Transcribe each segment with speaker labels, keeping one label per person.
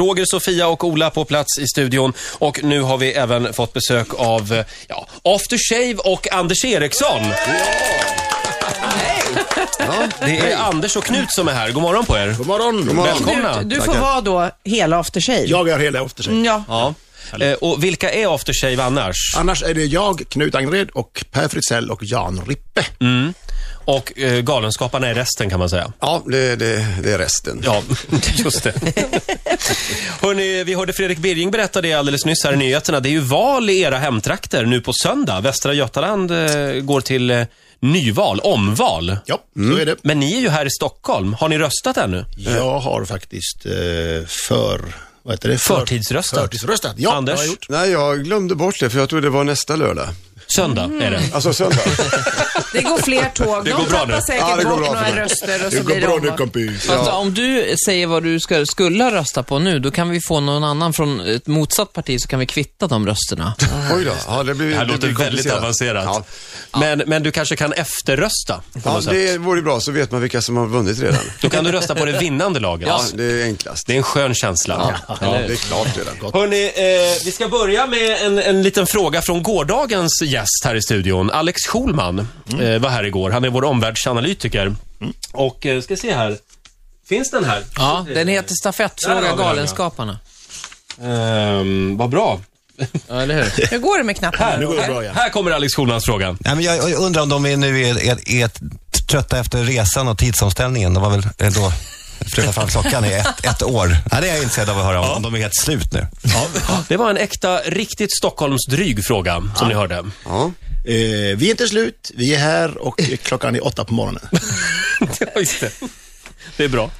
Speaker 1: Roger, Sofia och Ola på plats i studion och nu har vi även fått besök av eh, ja, After Shave och Anders Eriksson.
Speaker 2: Ja,
Speaker 1: Det är Anders och Knut som är här. God morgon på er.
Speaker 2: God morgon. God
Speaker 1: Välkomna.
Speaker 3: Du får vara då hela after shave.
Speaker 2: Jag är hela After Shave.
Speaker 3: Ja.
Speaker 1: Ja. Eh, Och vilka är After Shave annars?
Speaker 4: Ah.
Speaker 2: Annars är det jag, Knut Angred och Per Fritzell och Jan Rippe.
Speaker 1: Mm. Och eh, Galenskaparna är resten kan man säga.
Speaker 2: Ja, det, det, det är resten.
Speaker 1: Ja, just det. Hörrni, vi hörde Fredrik Birging berätta det alldeles nyss här i nyheterna. Det är ju val i era hemtrakter nu på söndag. Västra Götaland eh, går till eh, nyval, omval.
Speaker 2: Ja, så är det.
Speaker 1: Men ni är ju här i Stockholm. Har ni röstat ännu?
Speaker 2: Jag har faktiskt eh, för... Vad heter det? För-
Speaker 1: Förtidsröstat.
Speaker 2: Förtidsröstat, ja.
Speaker 1: Anders?
Speaker 2: det har jag gjort.
Speaker 4: Nej, jag glömde bort det för jag trodde det var nästa lördag.
Speaker 1: Söndag är det.
Speaker 4: Alltså söndag.
Speaker 3: Det går fler tåg.
Speaker 1: Det
Speaker 3: De
Speaker 1: går bra
Speaker 3: tappar
Speaker 1: nu.
Speaker 3: säkert
Speaker 4: Ja, det går
Speaker 3: bort
Speaker 4: bra för
Speaker 3: några
Speaker 4: mig.
Speaker 3: röster och så
Speaker 2: Det går
Speaker 3: blir det
Speaker 2: bra nu
Speaker 3: omval.
Speaker 2: kompis.
Speaker 5: Fast Alltså, om du säger vad du ska, skulle rösta på nu, då kan vi få någon annan från ett motsatt parti, så kan vi kvitta de rösterna.
Speaker 4: Oj då. Ja, det, blir,
Speaker 1: Det här
Speaker 4: det
Speaker 1: låter
Speaker 4: blir
Speaker 1: väldigt
Speaker 4: komplicerat.
Speaker 1: avancerat. Men, men du kanske kan efterrösta på
Speaker 4: Ja,
Speaker 1: något sätt.
Speaker 4: det vore bra så vet man vilka som har vunnit redan.
Speaker 1: Då kan du rösta på det vinnande laget.
Speaker 4: Ja, det är enklast.
Speaker 1: Det är en skön känsla.
Speaker 4: Ja, det är klart redan.
Speaker 1: Hörni, eh, vi ska börja med en, en liten fråga från gårdagens gäst här i studion. Alex Schulman
Speaker 4: Mm.
Speaker 1: eh, var här igår. Han är vår omvärldsanalytiker. Och, eh, ska se här. Finns den här?
Speaker 5: Ja, den heter
Speaker 1: Där
Speaker 5: Stafettfråga
Speaker 1: har vi den, ja.
Speaker 5: Galenskaparna.
Speaker 1: Ehm, vad bra.
Speaker 5: Ja, eller hur?
Speaker 3: Hur går det med knappen?
Speaker 2: Nu går det bra
Speaker 1: Här,
Speaker 2: igen.
Speaker 1: här kommer Alex Schulmans fråga.
Speaker 6: Nej, men jag jag undrar om de är nu är, är, är trötta efter resan och tidsomställningen. De var väl eh, då flytta fram klockan i ett, ett år. Ja, det är jag intresserad av att höra om, om de är helt slut nu.
Speaker 1: Det var en äkta, riktigt Stockholmsdryg fråga som ni hörde.
Speaker 4: Ja.
Speaker 2: Eh, vi är inte slut, vi är här och klockan är åtta på morgonen.
Speaker 1: Ja, Just det. Det är bra.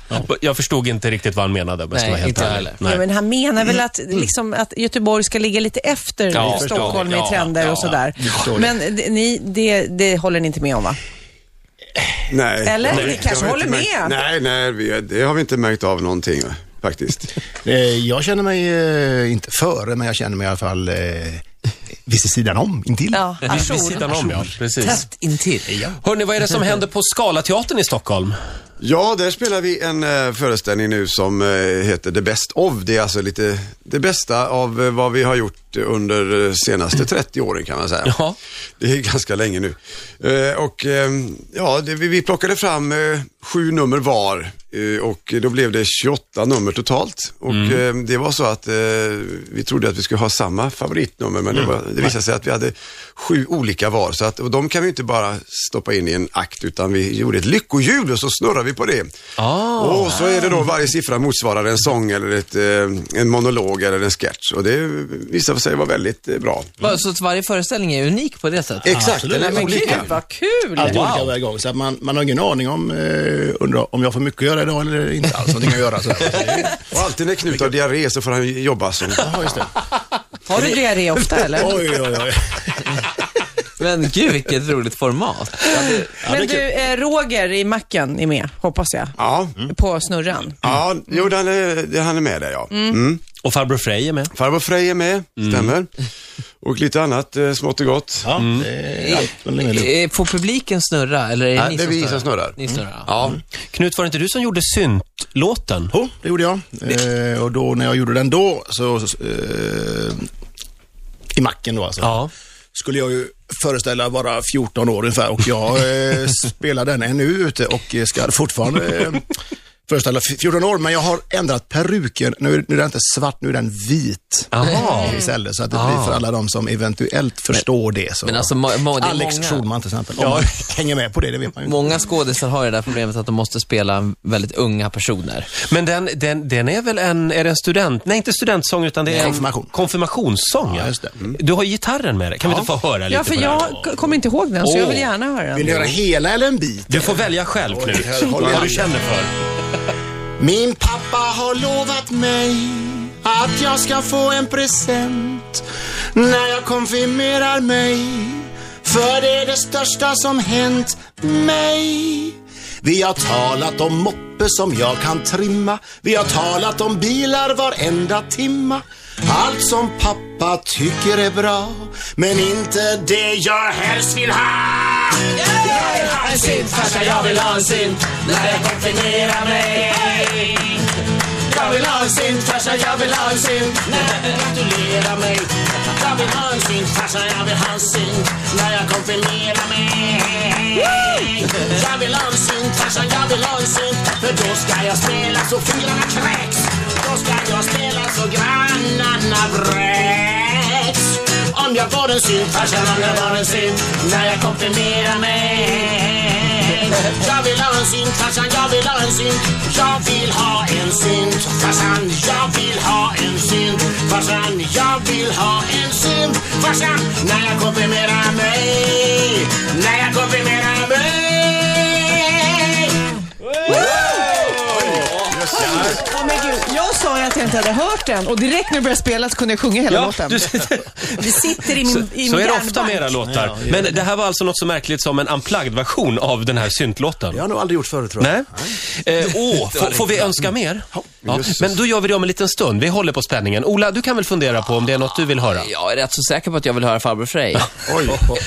Speaker 1: Jag förstod inte riktigt vad han menade om jag ska
Speaker 5: Nej,
Speaker 1: vara helt
Speaker 5: inte jag
Speaker 1: ärlig.
Speaker 5: heller.
Speaker 3: Ja,
Speaker 1: Nej.
Speaker 3: men han menar väl att, liksom, att Göteborg ska ligga lite efter
Speaker 1: Ja,
Speaker 3: Stockholm
Speaker 1: förstår.
Speaker 3: i trender
Speaker 1: Ja,
Speaker 3: och sådär.
Speaker 2: förstår det.
Speaker 3: men det, ni, det, det håller ni inte med om va?
Speaker 4: Nej.
Speaker 3: Eller?
Speaker 4: Jag har
Speaker 3: Ni
Speaker 4: inte
Speaker 3: kanske håller
Speaker 4: märkt-
Speaker 3: med?
Speaker 4: Nej, nej, vi, det har vi inte märkt av någonting faktiskt.
Speaker 2: Eh, jag känner mig, eh, inte före, men jag känner mig i alla fall eh, vis i sidan om, intill.
Speaker 3: Ja,
Speaker 1: Vid, vid
Speaker 3: ajour.
Speaker 1: sidan om, ja. Precis.
Speaker 5: Tätt intill.
Speaker 1: Hörni, vad är det som händer på Scalateatern i Stockholm?
Speaker 4: Ja, där spelar vi en eh, föreställning nu som eh, heter The Best of. Det är alltså lite det bästa av eh, vad vi har gjort under eh, senaste 30 åren kan man säga.
Speaker 1: Ja.
Speaker 4: Det är ganska länge nu. Eh, och ehm, ja, det, vi, vi plockade fram eh, sju nummer var eh, och då blev det 28 nummer totalt. Och ehm, det var så att eh, vi trodde att vi skulle ha samma favoritnummer men det, var, det visade sig att vi hade sju olika var. Så att, och de kan vi inte bara stoppa in i en akt utan vi gjorde ett lyckohjul och så snurrar vi på det. Och så är det då varje siffra motsvarar en sång eller ett, eh, en monolog eller en sketch. Och det visade sig vara väldigt eh, bra.
Speaker 5: Va, Så att varje föreställning är unik på det sättet?
Speaker 4: Exakt, den är olika.
Speaker 3: Gud vad kul!
Speaker 2: Allt olika varje gång. Så att man, man har ingen aning om, eh, undrar om jag får mycket att göra idag eller inte alls. Någonting att göra så här.
Speaker 4: Och alltid när Knut har diarré så får han ju jobba som...
Speaker 2: Ja, just det.
Speaker 3: Har du diarré ofta eller?
Speaker 2: Oj, oj, oj.
Speaker 5: Men gud, vilket roligt format.
Speaker 3: Men du, eh, Roger i macken är med, hoppas jag.
Speaker 4: Ja,
Speaker 3: På snurran.
Speaker 4: ja jo, den är, det- han är med där ja. Mm.
Speaker 1: Och farbror Frej är med.
Speaker 4: Farbror Frej är med, stämmer. Och lite annat eh, smått och gott.
Speaker 2: Ja, det är allt mellan himmel och jord.
Speaker 5: Eh, Får publiken snurra, eller är det
Speaker 4: Nej,
Speaker 5: ni
Speaker 4: det är
Speaker 5: som
Speaker 4: vi
Speaker 5: snurrar?
Speaker 4: som snurrar.
Speaker 5: Ni snurrar, ja.
Speaker 4: Ja,
Speaker 1: Knut, var det inte du som gjorde syntlåten?
Speaker 2: Jo, det gjorde jag. Eh, och då när jag gjorde den då, så, så eh, i macken då alltså,
Speaker 1: Ja.
Speaker 2: skulle jag ju föreställa vara 14 år ungefär och jag eh, spelar den ännu ute och eh, ska fortfarande eh, föreställa f- 14 år, men jag har ändrat peruken. Nu, är- nu är den inte svart, nu är den vit. Eh,
Speaker 1: Jaha.
Speaker 2: Istället, så att det blir för alla de som eventuellt förstår det.
Speaker 5: Ah.
Speaker 2: Så.
Speaker 5: men alltså, ma- ma- det är
Speaker 2: Alex
Speaker 5: många.
Speaker 2: Schulman till exempel. Om man hänger med på det, det vet man ju inte.
Speaker 5: Många skådisar har ju det där problemet att de måste spela väldigt unga personer.
Speaker 1: Men den, den, den är väl en, är det en student, nej inte studentsång utan det är
Speaker 2: Konfirmation.
Speaker 1: en konfirmationssång.
Speaker 2: Ja, just det. Mm.
Speaker 1: Du har gitaren med dig, kan vi inte få höra lite
Speaker 3: Ja, för
Speaker 1: på den?
Speaker 3: jag k- kommer inte ihåg den, så jag vill
Speaker 1: Åh.
Speaker 3: gärna höra
Speaker 2: Vill
Speaker 3: den.
Speaker 2: ni höra hela eller en bit?
Speaker 1: Du får välja själv Knut,
Speaker 2: här håller
Speaker 1: vad
Speaker 2: jag.
Speaker 1: du känner för.
Speaker 2: Min pappa har lovat mig att jag ska få en present när jag konfirmerar mig. För det är det största som hänt mig. Vi har talat om moppe som jag kan trimma. Vi har talat om bilar varenda timma. Allt som pappa tycker är bra, men inte det jag helst vill ha. Jag vill ha en synt, farsa, jag vill ha en synt.
Speaker 7: Jag vill ha en synt, farsan, jag vill ha en synt.
Speaker 8: Nej, gratulera mig. Jag vill ha en synt, farsan, jag vill ha en synt när jag konfirmerar mig. Jag vill ha en synt, farsan, jag vill ha en synt för då ska jag spela så fingrarna kräks. Då ska jag spela så grannarna vräks. Om jag får en synt, farsan, om jag får en synt när jag konfirmerar mig. Jag vill ha en synt, farsan, jag vill ha en synt Jag vill ha en synt, farsan, jag vill ha en synt Farsan, jag vill ha en synt Farsan, när jag konfirmerar mig När jag konfirmerar mig
Speaker 3: Åh, men gud, jag sa ju att jag inte hade hört den och direkt när det började spela så kunde jag sjunga hela låten.
Speaker 1: du,
Speaker 3: Det sitter i min, i min
Speaker 1: så är det ofta
Speaker 3: hjärnbank.
Speaker 1: med era låtar. Men det här var alltså något så märkligt som en unplugged-version av den här syntlåten.
Speaker 2: Det har jag nog aldrig gjort förut tror jag.
Speaker 1: Nej. Eh, åh, får, får vi önska mer? Ja. Men då gör vi det om en liten stund. Vi håller på spänningen. Ola, du kan väl fundera på om det är något du vill höra?
Speaker 5: Jag är rätt så säker på att jag vill höra Farbror Frej.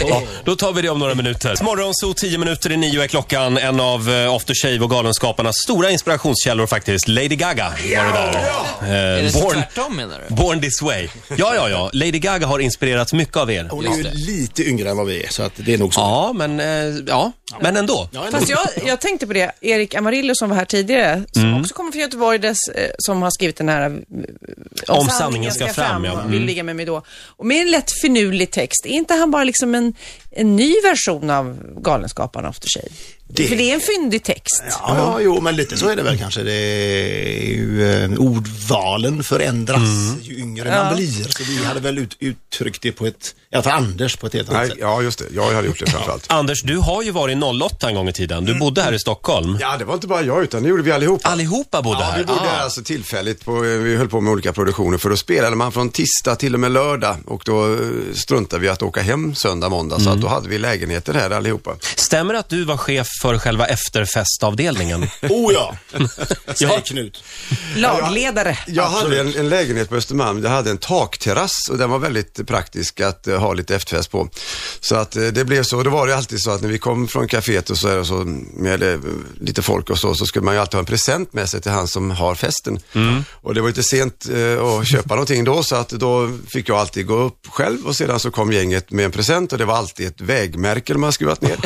Speaker 1: Ja, då tar vi det om några minuter. Morgonzoo 10 minuter i nio är klockan. En av eh, After Shave och Galenskaparnas stora inspirationskällor faktiskt. Lady Gaga var det där. Eh,
Speaker 5: är det så
Speaker 1: born,
Speaker 5: tvärtom menar du?
Speaker 1: born this way. Ja, ja, ja. Lady Gaga har inspirerats mycket av er.
Speaker 2: Hon är ju lite yngre än vad vi är, så att det är nog så.
Speaker 1: Ja, men, eh, ja. men ändå.
Speaker 3: Fast jag, jag tänkte på det, Erik Amarillo som var här tidigare, som
Speaker 1: Mm.
Speaker 3: också kommer från Göteborg, dess, eh, som har skrivit den här eh,
Speaker 1: Om sanningen ska fram, ja.
Speaker 3: Vill
Speaker 1: Mm.
Speaker 3: ligga med mig då. Och med en lätt finurlig text, är inte han bara liksom en, en ny version av Galenskaparna After Shave?
Speaker 2: Det-
Speaker 3: För det är en fyndig text.
Speaker 2: Ja, ja, jo, men lite så är det väl kanske. Det är ju, eh, ordvalen förändras ju yngre man blir. Så vi hade väl ut, uttryckt det på ett, i alla fall Anders på ett helt annat
Speaker 4: Nej,
Speaker 2: sätt.
Speaker 4: ja, just det. Jag hade gjort det framförallt.
Speaker 1: Anders, du har ju varit 08 en gång i tiden. Du bodde här i Stockholm.
Speaker 4: Ja, det var inte bara jag, utan det gjorde vi allihopa.
Speaker 1: Allihopa bodde
Speaker 4: Ja, vi
Speaker 1: här.
Speaker 4: bodde här alltså tillfälligt. På, vi höll på med olika produktioner för då spelade man från tisdag till och med lördag och då eh, struntade vi att åka hem söndag, måndag. Så att då hade vi lägenheter här allihopa.
Speaker 1: Stämmer det att du var chef för själva efterfestavdelningen?
Speaker 2: Oh ja, säger Knut.
Speaker 3: Lagledare.
Speaker 4: Jag hade en, en lägenhet på Östermalm, jag hade en takterrass och den var väldigt praktisk att eh, ha lite efterfest på. Så att eh, det blev så, och då var det alltid så att när vi kom från kaféet och så, här och så med eh, lite folk och så, så skulle man ju alltid ha en present med sig till han som har festen. Och det var inte sent eh, att köpa någonting då, så att då fick jag alltid gå upp själv och sedan så kom gänget med en present och det var alltid ett vägmärke de hade skruvat ner.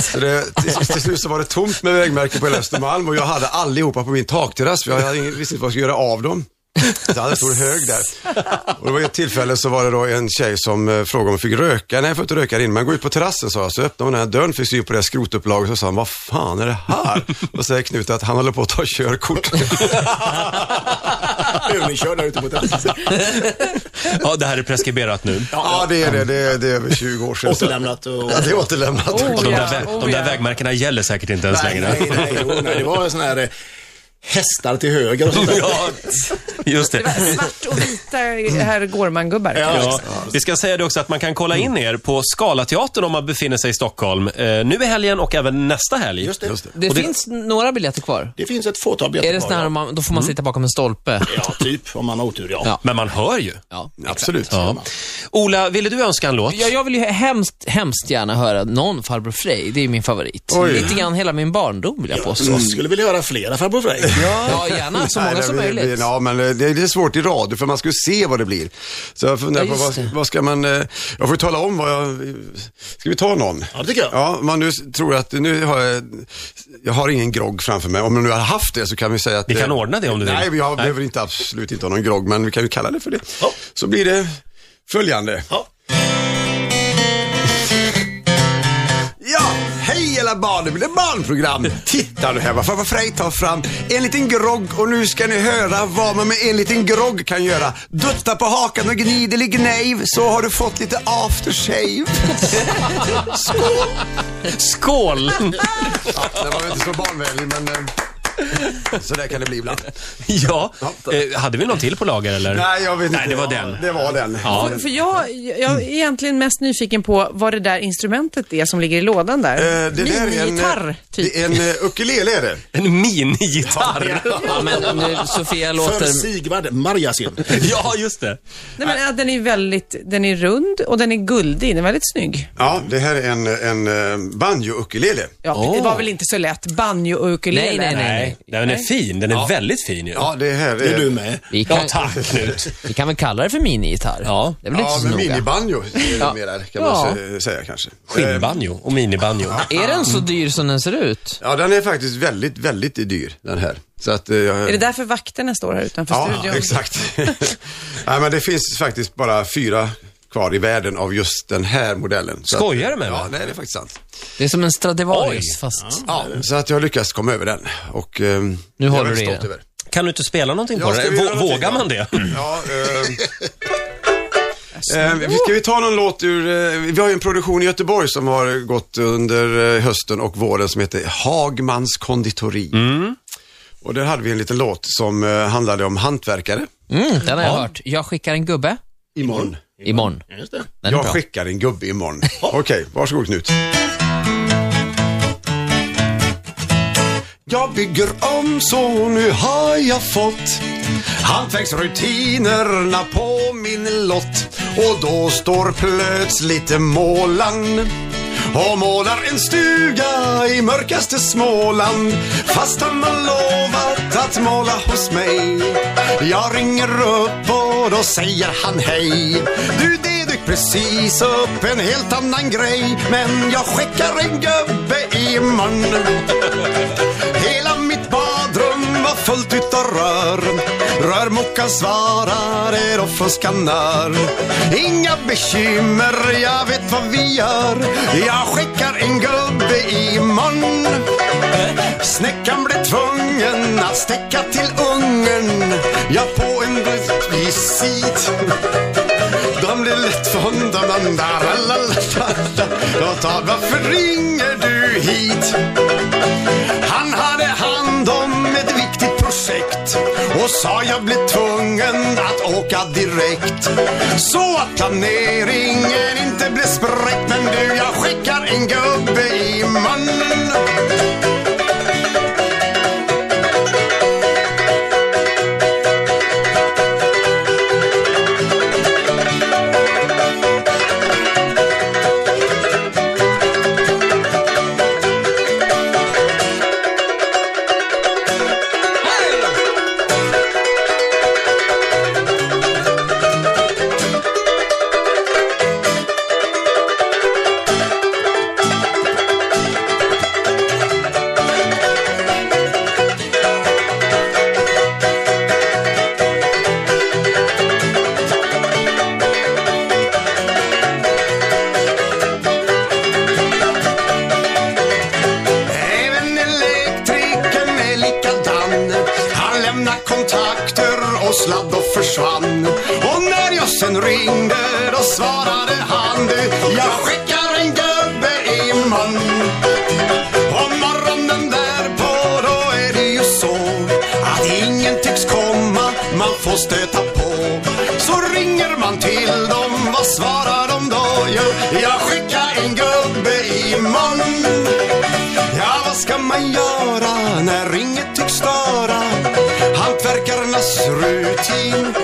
Speaker 4: Så det, till, till slut så var det tomt med vägmärken på hela Östermalm och jag hade allihopa på min takterrass för jag hade ingen, visste inte vad jag skulle göra av dem. Så jag hade en stor hög där. Och det var ett tillfälle så var det då en tjej som eh, frågade om hon fick röka. Nej, jag får inte röka här inne, men gå ut på terrassen sa jag. Så öppnade hon den här dörren, fick syn på det här skrotupplaget och så sa han, vad fan är det här? Och säger Knut att han håller på att ta körkort.
Speaker 2: Övningskör där ute på terrassen.
Speaker 1: Ja, det här är preskriberat nu.
Speaker 4: Ja, det är det. Det är, det är över 20 år sedan.
Speaker 2: Återlämnat och...
Speaker 4: Ja, det är återlämnat.
Speaker 3: Oh,
Speaker 1: De där,
Speaker 3: ja,
Speaker 1: vä-
Speaker 3: oh,
Speaker 1: de där
Speaker 3: ja.
Speaker 1: vägmärkena gäller säkert inte ens
Speaker 2: Nej,
Speaker 1: längre.
Speaker 2: nej, nej, jo, nej, det var sån här eh, hästar till höger och sånt där.
Speaker 1: Ja, just det.
Speaker 3: Svart och vita eh, herr Gårman-gubbar.
Speaker 1: Ja, vi ska säga det också att man kan kolla in er på Scalateatern om man befinner sig i Stockholm. Eh, nu i helgen och även nästa helg.
Speaker 2: Just det.
Speaker 5: Det, finns några biljetter kvar.
Speaker 2: Det finns ett fåtal biljetter
Speaker 5: Är det sådana här
Speaker 2: kvar,
Speaker 5: man, då
Speaker 4: Mm.
Speaker 5: får man sitta bakom en stolpe?
Speaker 2: ja. ja, typ om man har otur, ja.
Speaker 5: Ja.
Speaker 1: Men man hör ju.
Speaker 5: Ja.
Speaker 4: Absolut.
Speaker 1: Ja. Ola, ville du önska en låt?
Speaker 5: Ja, jag vill ju hemskt, hemskt gärna höra någon Farbror Frej. Det är ju min favorit.
Speaker 4: Oj. Mm.
Speaker 5: Lite grann hela min barndom vill jag påstå.
Speaker 2: Så skulle vilja höra flera Farbror Frej.
Speaker 5: Ja, gärna så många
Speaker 4: Nej,
Speaker 5: som
Speaker 4: det blir-
Speaker 5: möjligt.
Speaker 4: blir- Ja, men eh, det, det är svårt i radio för man ska ju se vad det blir. Så jag funderar
Speaker 5: Ja,
Speaker 4: på
Speaker 5: just
Speaker 4: vad,
Speaker 5: det.
Speaker 4: vad ska man, eh, jag får ju tala om vad jag, ska vi ta någon?
Speaker 2: Ja, det tycker jag.
Speaker 4: Ja, om man nu s- tror att, nu har jag, jag har ingen grogg framför mig. Om man nu har haft det så kan vi säga att...
Speaker 1: Vi kan
Speaker 4: eh,
Speaker 1: ordna det om du vill.
Speaker 4: Nej, jag behöver inte, absolut inte ha någon grogg, men vi kan ju kalla det för det. Så blir det följande.
Speaker 2: Ja.
Speaker 4: Ja, hej alla barn, det blir barnprogram. Titta nu här vad farfar Frej tar fram. En liten grogg och nu ska ni höra vad man med en liten grogg kan göra. Dutta på hakan och gnid eller gnejv så har du fått lite aftershave.
Speaker 1: Skål!
Speaker 4: Ja, det var väl inte så barnvänlig men eh, så där kan det bli ibland.
Speaker 1: ja. Eh, hade vi någon till på lager eller?
Speaker 4: Nej, jag vet inte.
Speaker 1: Nej, det var den.
Speaker 4: Det var den.
Speaker 1: Ja.
Speaker 3: För jag, jag är egentligen mest nyfiken på vad det där instrumentet är som ligger i lådan där.
Speaker 4: Eh, Det där är en,
Speaker 3: Minigitarr,
Speaker 4: eh,
Speaker 3: typ.
Speaker 4: det är en eh, ukulele är det.
Speaker 1: En minigitarr.
Speaker 5: Ja, men nu, Sofia
Speaker 2: För
Speaker 5: låter...
Speaker 2: Sigvard Marjasin.
Speaker 1: ja, just det.
Speaker 3: Nej, men, ja, den är väldigt, den är rund och den är guldig. Den är väldigt snygg.
Speaker 4: Ja, det här är en, en eh, banjo-ukulele.
Speaker 3: Ja, Det var väl inte så lätt. Banjo och ukulele.
Speaker 5: Nej, nej, nej.
Speaker 1: Nej, den är fin. Den är väldigt fin ju.
Speaker 4: Ja, det här
Speaker 2: Det är
Speaker 4: är...
Speaker 2: du med.
Speaker 5: Vi
Speaker 1: Ja,
Speaker 5: kan,
Speaker 1: tack Knut.
Speaker 5: vi kan väl kalla det för minigitarr?
Speaker 1: Ja.
Speaker 5: Det är väl inte
Speaker 4: Ja,
Speaker 5: så
Speaker 4: men
Speaker 5: noga.
Speaker 4: minibanjo är det
Speaker 5: Ja.
Speaker 4: mer där, kan
Speaker 5: Ja.
Speaker 4: man sä- säga kanske. Eh,
Speaker 1: Skinnbanjo och minibanjo.
Speaker 5: Är den
Speaker 4: Mm.
Speaker 5: så dyr som den ser ut?
Speaker 4: Ja, den är faktiskt väldigt, väldigt dyr, den här. Så att, eh, jag...
Speaker 3: Är det därför vakterna står här utanför
Speaker 4: Ja,
Speaker 3: studion?
Speaker 4: exakt. Nej, men det finns faktiskt bara fyra kvar i världen av just den här modellen. Så
Speaker 1: Skojar du med mig?
Speaker 4: Ja, nej, det är faktiskt sant.
Speaker 5: Det är som en Stradivarius,
Speaker 1: Oj.
Speaker 5: fast...
Speaker 4: Ja, så att jag har lyckats komma över den och eh, jag
Speaker 5: håller
Speaker 4: är väldigt
Speaker 5: du i
Speaker 4: stolt
Speaker 5: den.
Speaker 4: över.
Speaker 1: Kan du inte spela någonting på
Speaker 4: Ja,
Speaker 1: det?
Speaker 4: ska vi
Speaker 1: Vå-
Speaker 4: göra någonting
Speaker 1: Vågar
Speaker 4: då?
Speaker 1: man det?
Speaker 4: Ja, eh, eh, ska vi ta någon låt ur, eh, vi har ju en produktion i Göteborg som har gått under eh, hösten och våren som heter Hagmans konditori. Och där hade vi en liten låt som eh, handlade om hantverkare.
Speaker 5: Mm, den har jag hört. Jag skickar en gubbe
Speaker 4: Imorgon.
Speaker 5: imorgon.
Speaker 2: Just det.
Speaker 5: Den är
Speaker 4: Jag
Speaker 5: bra.
Speaker 4: skickar en gubbe imorgon. Okej, varsågod Knut. Jag bygger om så nu har jag fått hantverksrutinerna på min lott. Och då står plötsligt målan och målar en stuga i mörkaste Småland. Fast han har lovat att måla hos mig. Jag ringer upp och då säger han hej. Du, det dök precis upp en helt annan grej. Men jag skickar en gubbe imorgon. Hela mitt badrum var fullt utav rör Rörmokaren svarade då från Skanör Inga bekymmer, jag vet vad vi gör Jag skickar en gubbe imorgon Snäckan blev tvungen att stäcka till ungen Jag på en visit de blir lätt förhåndrade, Jag tar, varför ringer du hit? Han hade hand om ett viktigt projekt och sa jag blev tvungen att åka direkt. Så att planeringen inte blev spräckt. Men du, jag skickar en gubbe i munnen. Även elektrikern är likadan. Han lämnar kontakter och sladd och försvann. Och när jag sen ringde då svarade han du, jag skickar en gubbe i munnen. På morgonen därpå då är det ju så att ingen tycks komma, man får stöta på. Så ringer man till dem, vad svarar de då? Jo, jag skickar en gubbe i munnen. Ja, vad ska man göra när inget tycks störa hantverkarnas rutin?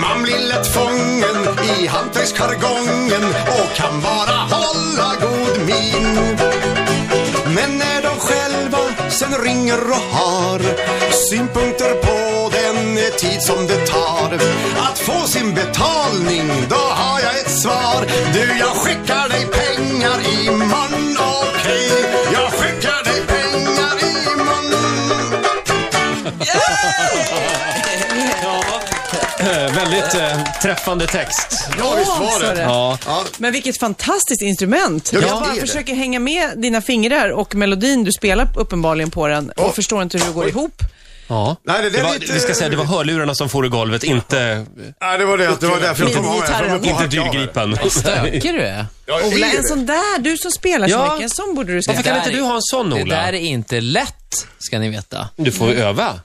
Speaker 4: Man blir lätt fången i hantverksjargongen och kan bara hålla god min. Men när de själva sen ringer och har synpunkter på den tid som det tar att få sin betalning, då har jag ett svar. Du, jag skickar dig pengar imorgon, okej? Jag skickar dig pengar imorgon.
Speaker 1: Eh, väldigt eh, träffande text.
Speaker 4: Ja, visst var
Speaker 3: sa
Speaker 4: det.
Speaker 3: det.
Speaker 1: Ja.
Speaker 3: Men vilket fantastiskt instrument.
Speaker 4: Ja,
Speaker 3: Jag
Speaker 4: visst är
Speaker 3: bara
Speaker 4: det.
Speaker 3: försöker hänga med dina fingrar och melodin. Du spelar uppenbarligen på den och
Speaker 4: Åh.
Speaker 3: förstår inte hur det går ihop.
Speaker 1: Ja.
Speaker 4: Nej, det där
Speaker 1: det var,
Speaker 4: är lite-
Speaker 1: vi ska säga det var hörlurarna som for i golvet, inte,
Speaker 4: Nej, det var det att det var därför jag tog av mig. för de är på
Speaker 1: inte
Speaker 4: hacka av mig.
Speaker 1: dyrgripen.
Speaker 5: Stökig du är.
Speaker 4: Ja, det är
Speaker 3: Ola,
Speaker 4: det.
Speaker 3: en sån där, du som spelar så
Speaker 1: Ja.
Speaker 3: mycket, en sån borde du
Speaker 1: Varför
Speaker 3: skaffa.
Speaker 1: kan
Speaker 5: där
Speaker 1: inte du ha en sån,
Speaker 5: Det där
Speaker 1: Ola?
Speaker 5: är inte lätt, ska ni veta.
Speaker 1: Du får ju öva.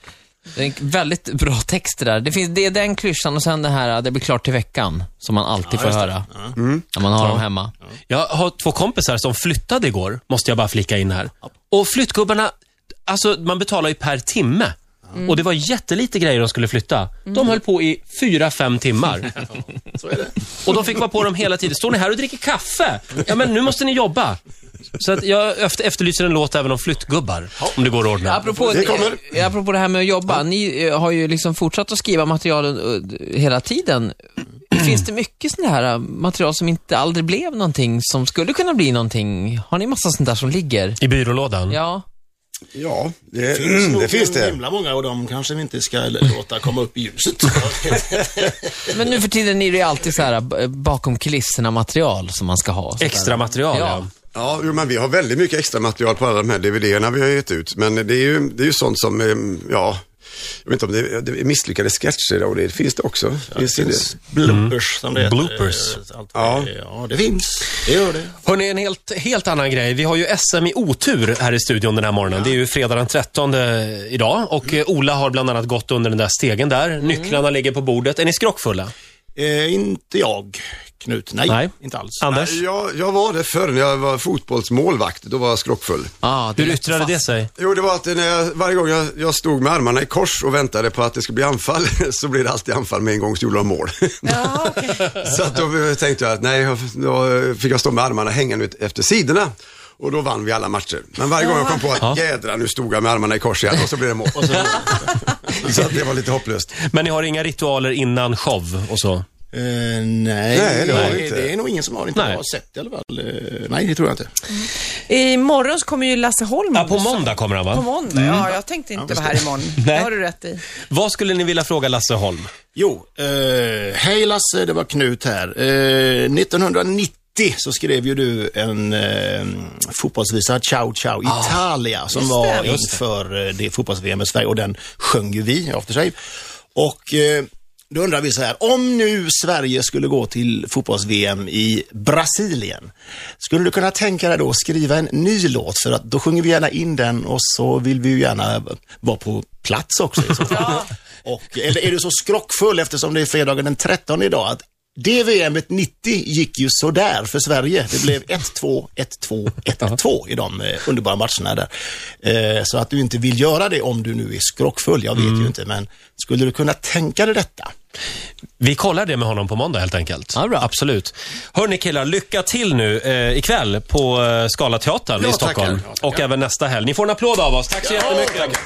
Speaker 5: Det är en väldigt bra text det där. Det, finns, det är den klyschan och sen det här, det blir klart till veckan, som man alltid får höra. När man har dem hemma.
Speaker 1: Jag har två kompisar som flyttade igår, måste jag bara flika in här. Och flyttgubbarna, alltså man betalar ju per timme. Och det var jättelite grejer de skulle flytta. De höll på i fyra, fem timmar. Och de fick vara på dem hela tiden. Står ni här och dricker kaffe? Ja, men nu måste ni jobba. Så att jag efter- efterlyser en låt även om flyttgubbar, om det går att ordna.
Speaker 5: Apropå
Speaker 4: Det kommer.
Speaker 5: eh, apropå det här med att jobba, ni eh, har ju liksom fortsatt att skriva material eh, hela tiden.
Speaker 4: Mm.
Speaker 5: Finns det mycket sådana här eh, material som inte aldrig blev någonting, som skulle kunna bli någonting? Har ni massa sånt där som ligger?
Speaker 1: I byrålådan.
Speaker 5: Ja.
Speaker 4: Ja, det
Speaker 2: finns
Speaker 4: Mm, det.
Speaker 2: nog
Speaker 4: Finns det.
Speaker 2: himla många och de kanske vi inte ska låta komma upp i ljuset. Alltså,
Speaker 5: Men nu för tiden är det ju alltid så här eh, bakom kulisserna material som man ska ha. Så där.
Speaker 1: Extra material, ja.
Speaker 5: Ja.
Speaker 4: Ja, jo, men vi har väldigt mycket extra material på alla de här DVD-erna vi har gett ut. Men det är ju, det är ju sånt som, eh, ja, jag vet inte om det är, det är misslyckade sketcher och det finns det också. Finns det det?
Speaker 2: Bloopers som det heter.
Speaker 1: Bloopers.
Speaker 2: Eh, Allt
Speaker 4: Ja.
Speaker 2: ja. ja, det finns. Det gör det.
Speaker 1: Hörrni, en helt, helt annan grej. Vi har ju SM i otur här i studion den här morgonen. Det är ju fredag den 13 idag och eh, Ola har bland annat gått under den där stegen där. Nycklarna ligger på bordet. Är ni skrockfulla?
Speaker 2: Eh, inte jag, Knut. Nej,
Speaker 1: Nej.
Speaker 2: inte alls.
Speaker 1: Anders,
Speaker 4: Jag, jag var det förr när jag var fotbollsmålvakt, då var jag skrockfull.
Speaker 5: Ah, det
Speaker 1: hur
Speaker 5: är
Speaker 1: yttrade det sig?
Speaker 4: Jo, det var att när jag, varje gång jag, jag stod med armarna i kors och väntade på att det skulle bli anfall, så blev det alltid anfall med en gång så gjorde de mål.
Speaker 3: Ja, okej.
Speaker 4: så att då eh, tänkte jag att nej, jag- då eh, fick jag stå med armarna hängande ut efter sidorna. Och då vann vi alla matcher. Men varje gång jag kom på att jädra nu stod jag med armarna i kors igen och så blev det mål. så att det var lite hopplöst.
Speaker 1: Men ni har inga ritualer innan show och så?
Speaker 2: Eh, nej, nej,
Speaker 4: det
Speaker 2: det,
Speaker 4: har
Speaker 2: är,
Speaker 4: vi inte.
Speaker 2: det är nog ingen som har inte
Speaker 1: Nej.
Speaker 2: jag har sett i alla fall. Eh, nej, det tror jag inte.
Speaker 3: Imorgon så kommer ju Lasse Holm.
Speaker 1: Ja, på måndag Mm. kommer han va?
Speaker 3: På måndag, ja. Jag tänkte inte vara här imorgon. Det
Speaker 1: Nej.
Speaker 3: har du rätt i.
Speaker 1: Vad skulle ni vilja fråga Lasse Holm?
Speaker 2: Jo, eh, hej Lasse, det var Knut här. Eh, 1990 så skrev ju du en eh, fotbollsvisa, Ciao Ciao
Speaker 4: Ah,
Speaker 2: Italia, som var inför eh, det fotbolls-VM i Sverige och den sjöng ju vi, After Shave. Och eh, då undrar vi så här, om nu Sverige skulle gå till fotbolls-VM i Brasilien, skulle du kunna tänka dig då att skriva en ny låt? För att då sjunger vi gärna in den och så vill vi ju gärna vara på plats också. i så fall. Och, eller är du så skrockfull eftersom det är fredagen den 13 idag att det VMet 90 gick ju sådär för Sverige. Det blev 1-2, 1-2, 1-2 i de eh, underbara matcherna där. Eh, så att du inte vill göra det om du nu är skrockfull, jag vet ju inte, men skulle du kunna tänka dig detta?
Speaker 1: Vi kollar det med honom på måndag helt enkelt.
Speaker 5: Ja, bra.
Speaker 1: Absolut. Hörni killar, lycka till nu eh, ikväll på eh, Scalateatern i
Speaker 4: Ja,
Speaker 1: Stockholm.
Speaker 4: tackar. Ja,
Speaker 1: Och även nästa helg. Ni får en applåd av oss. Tack så jättemycket.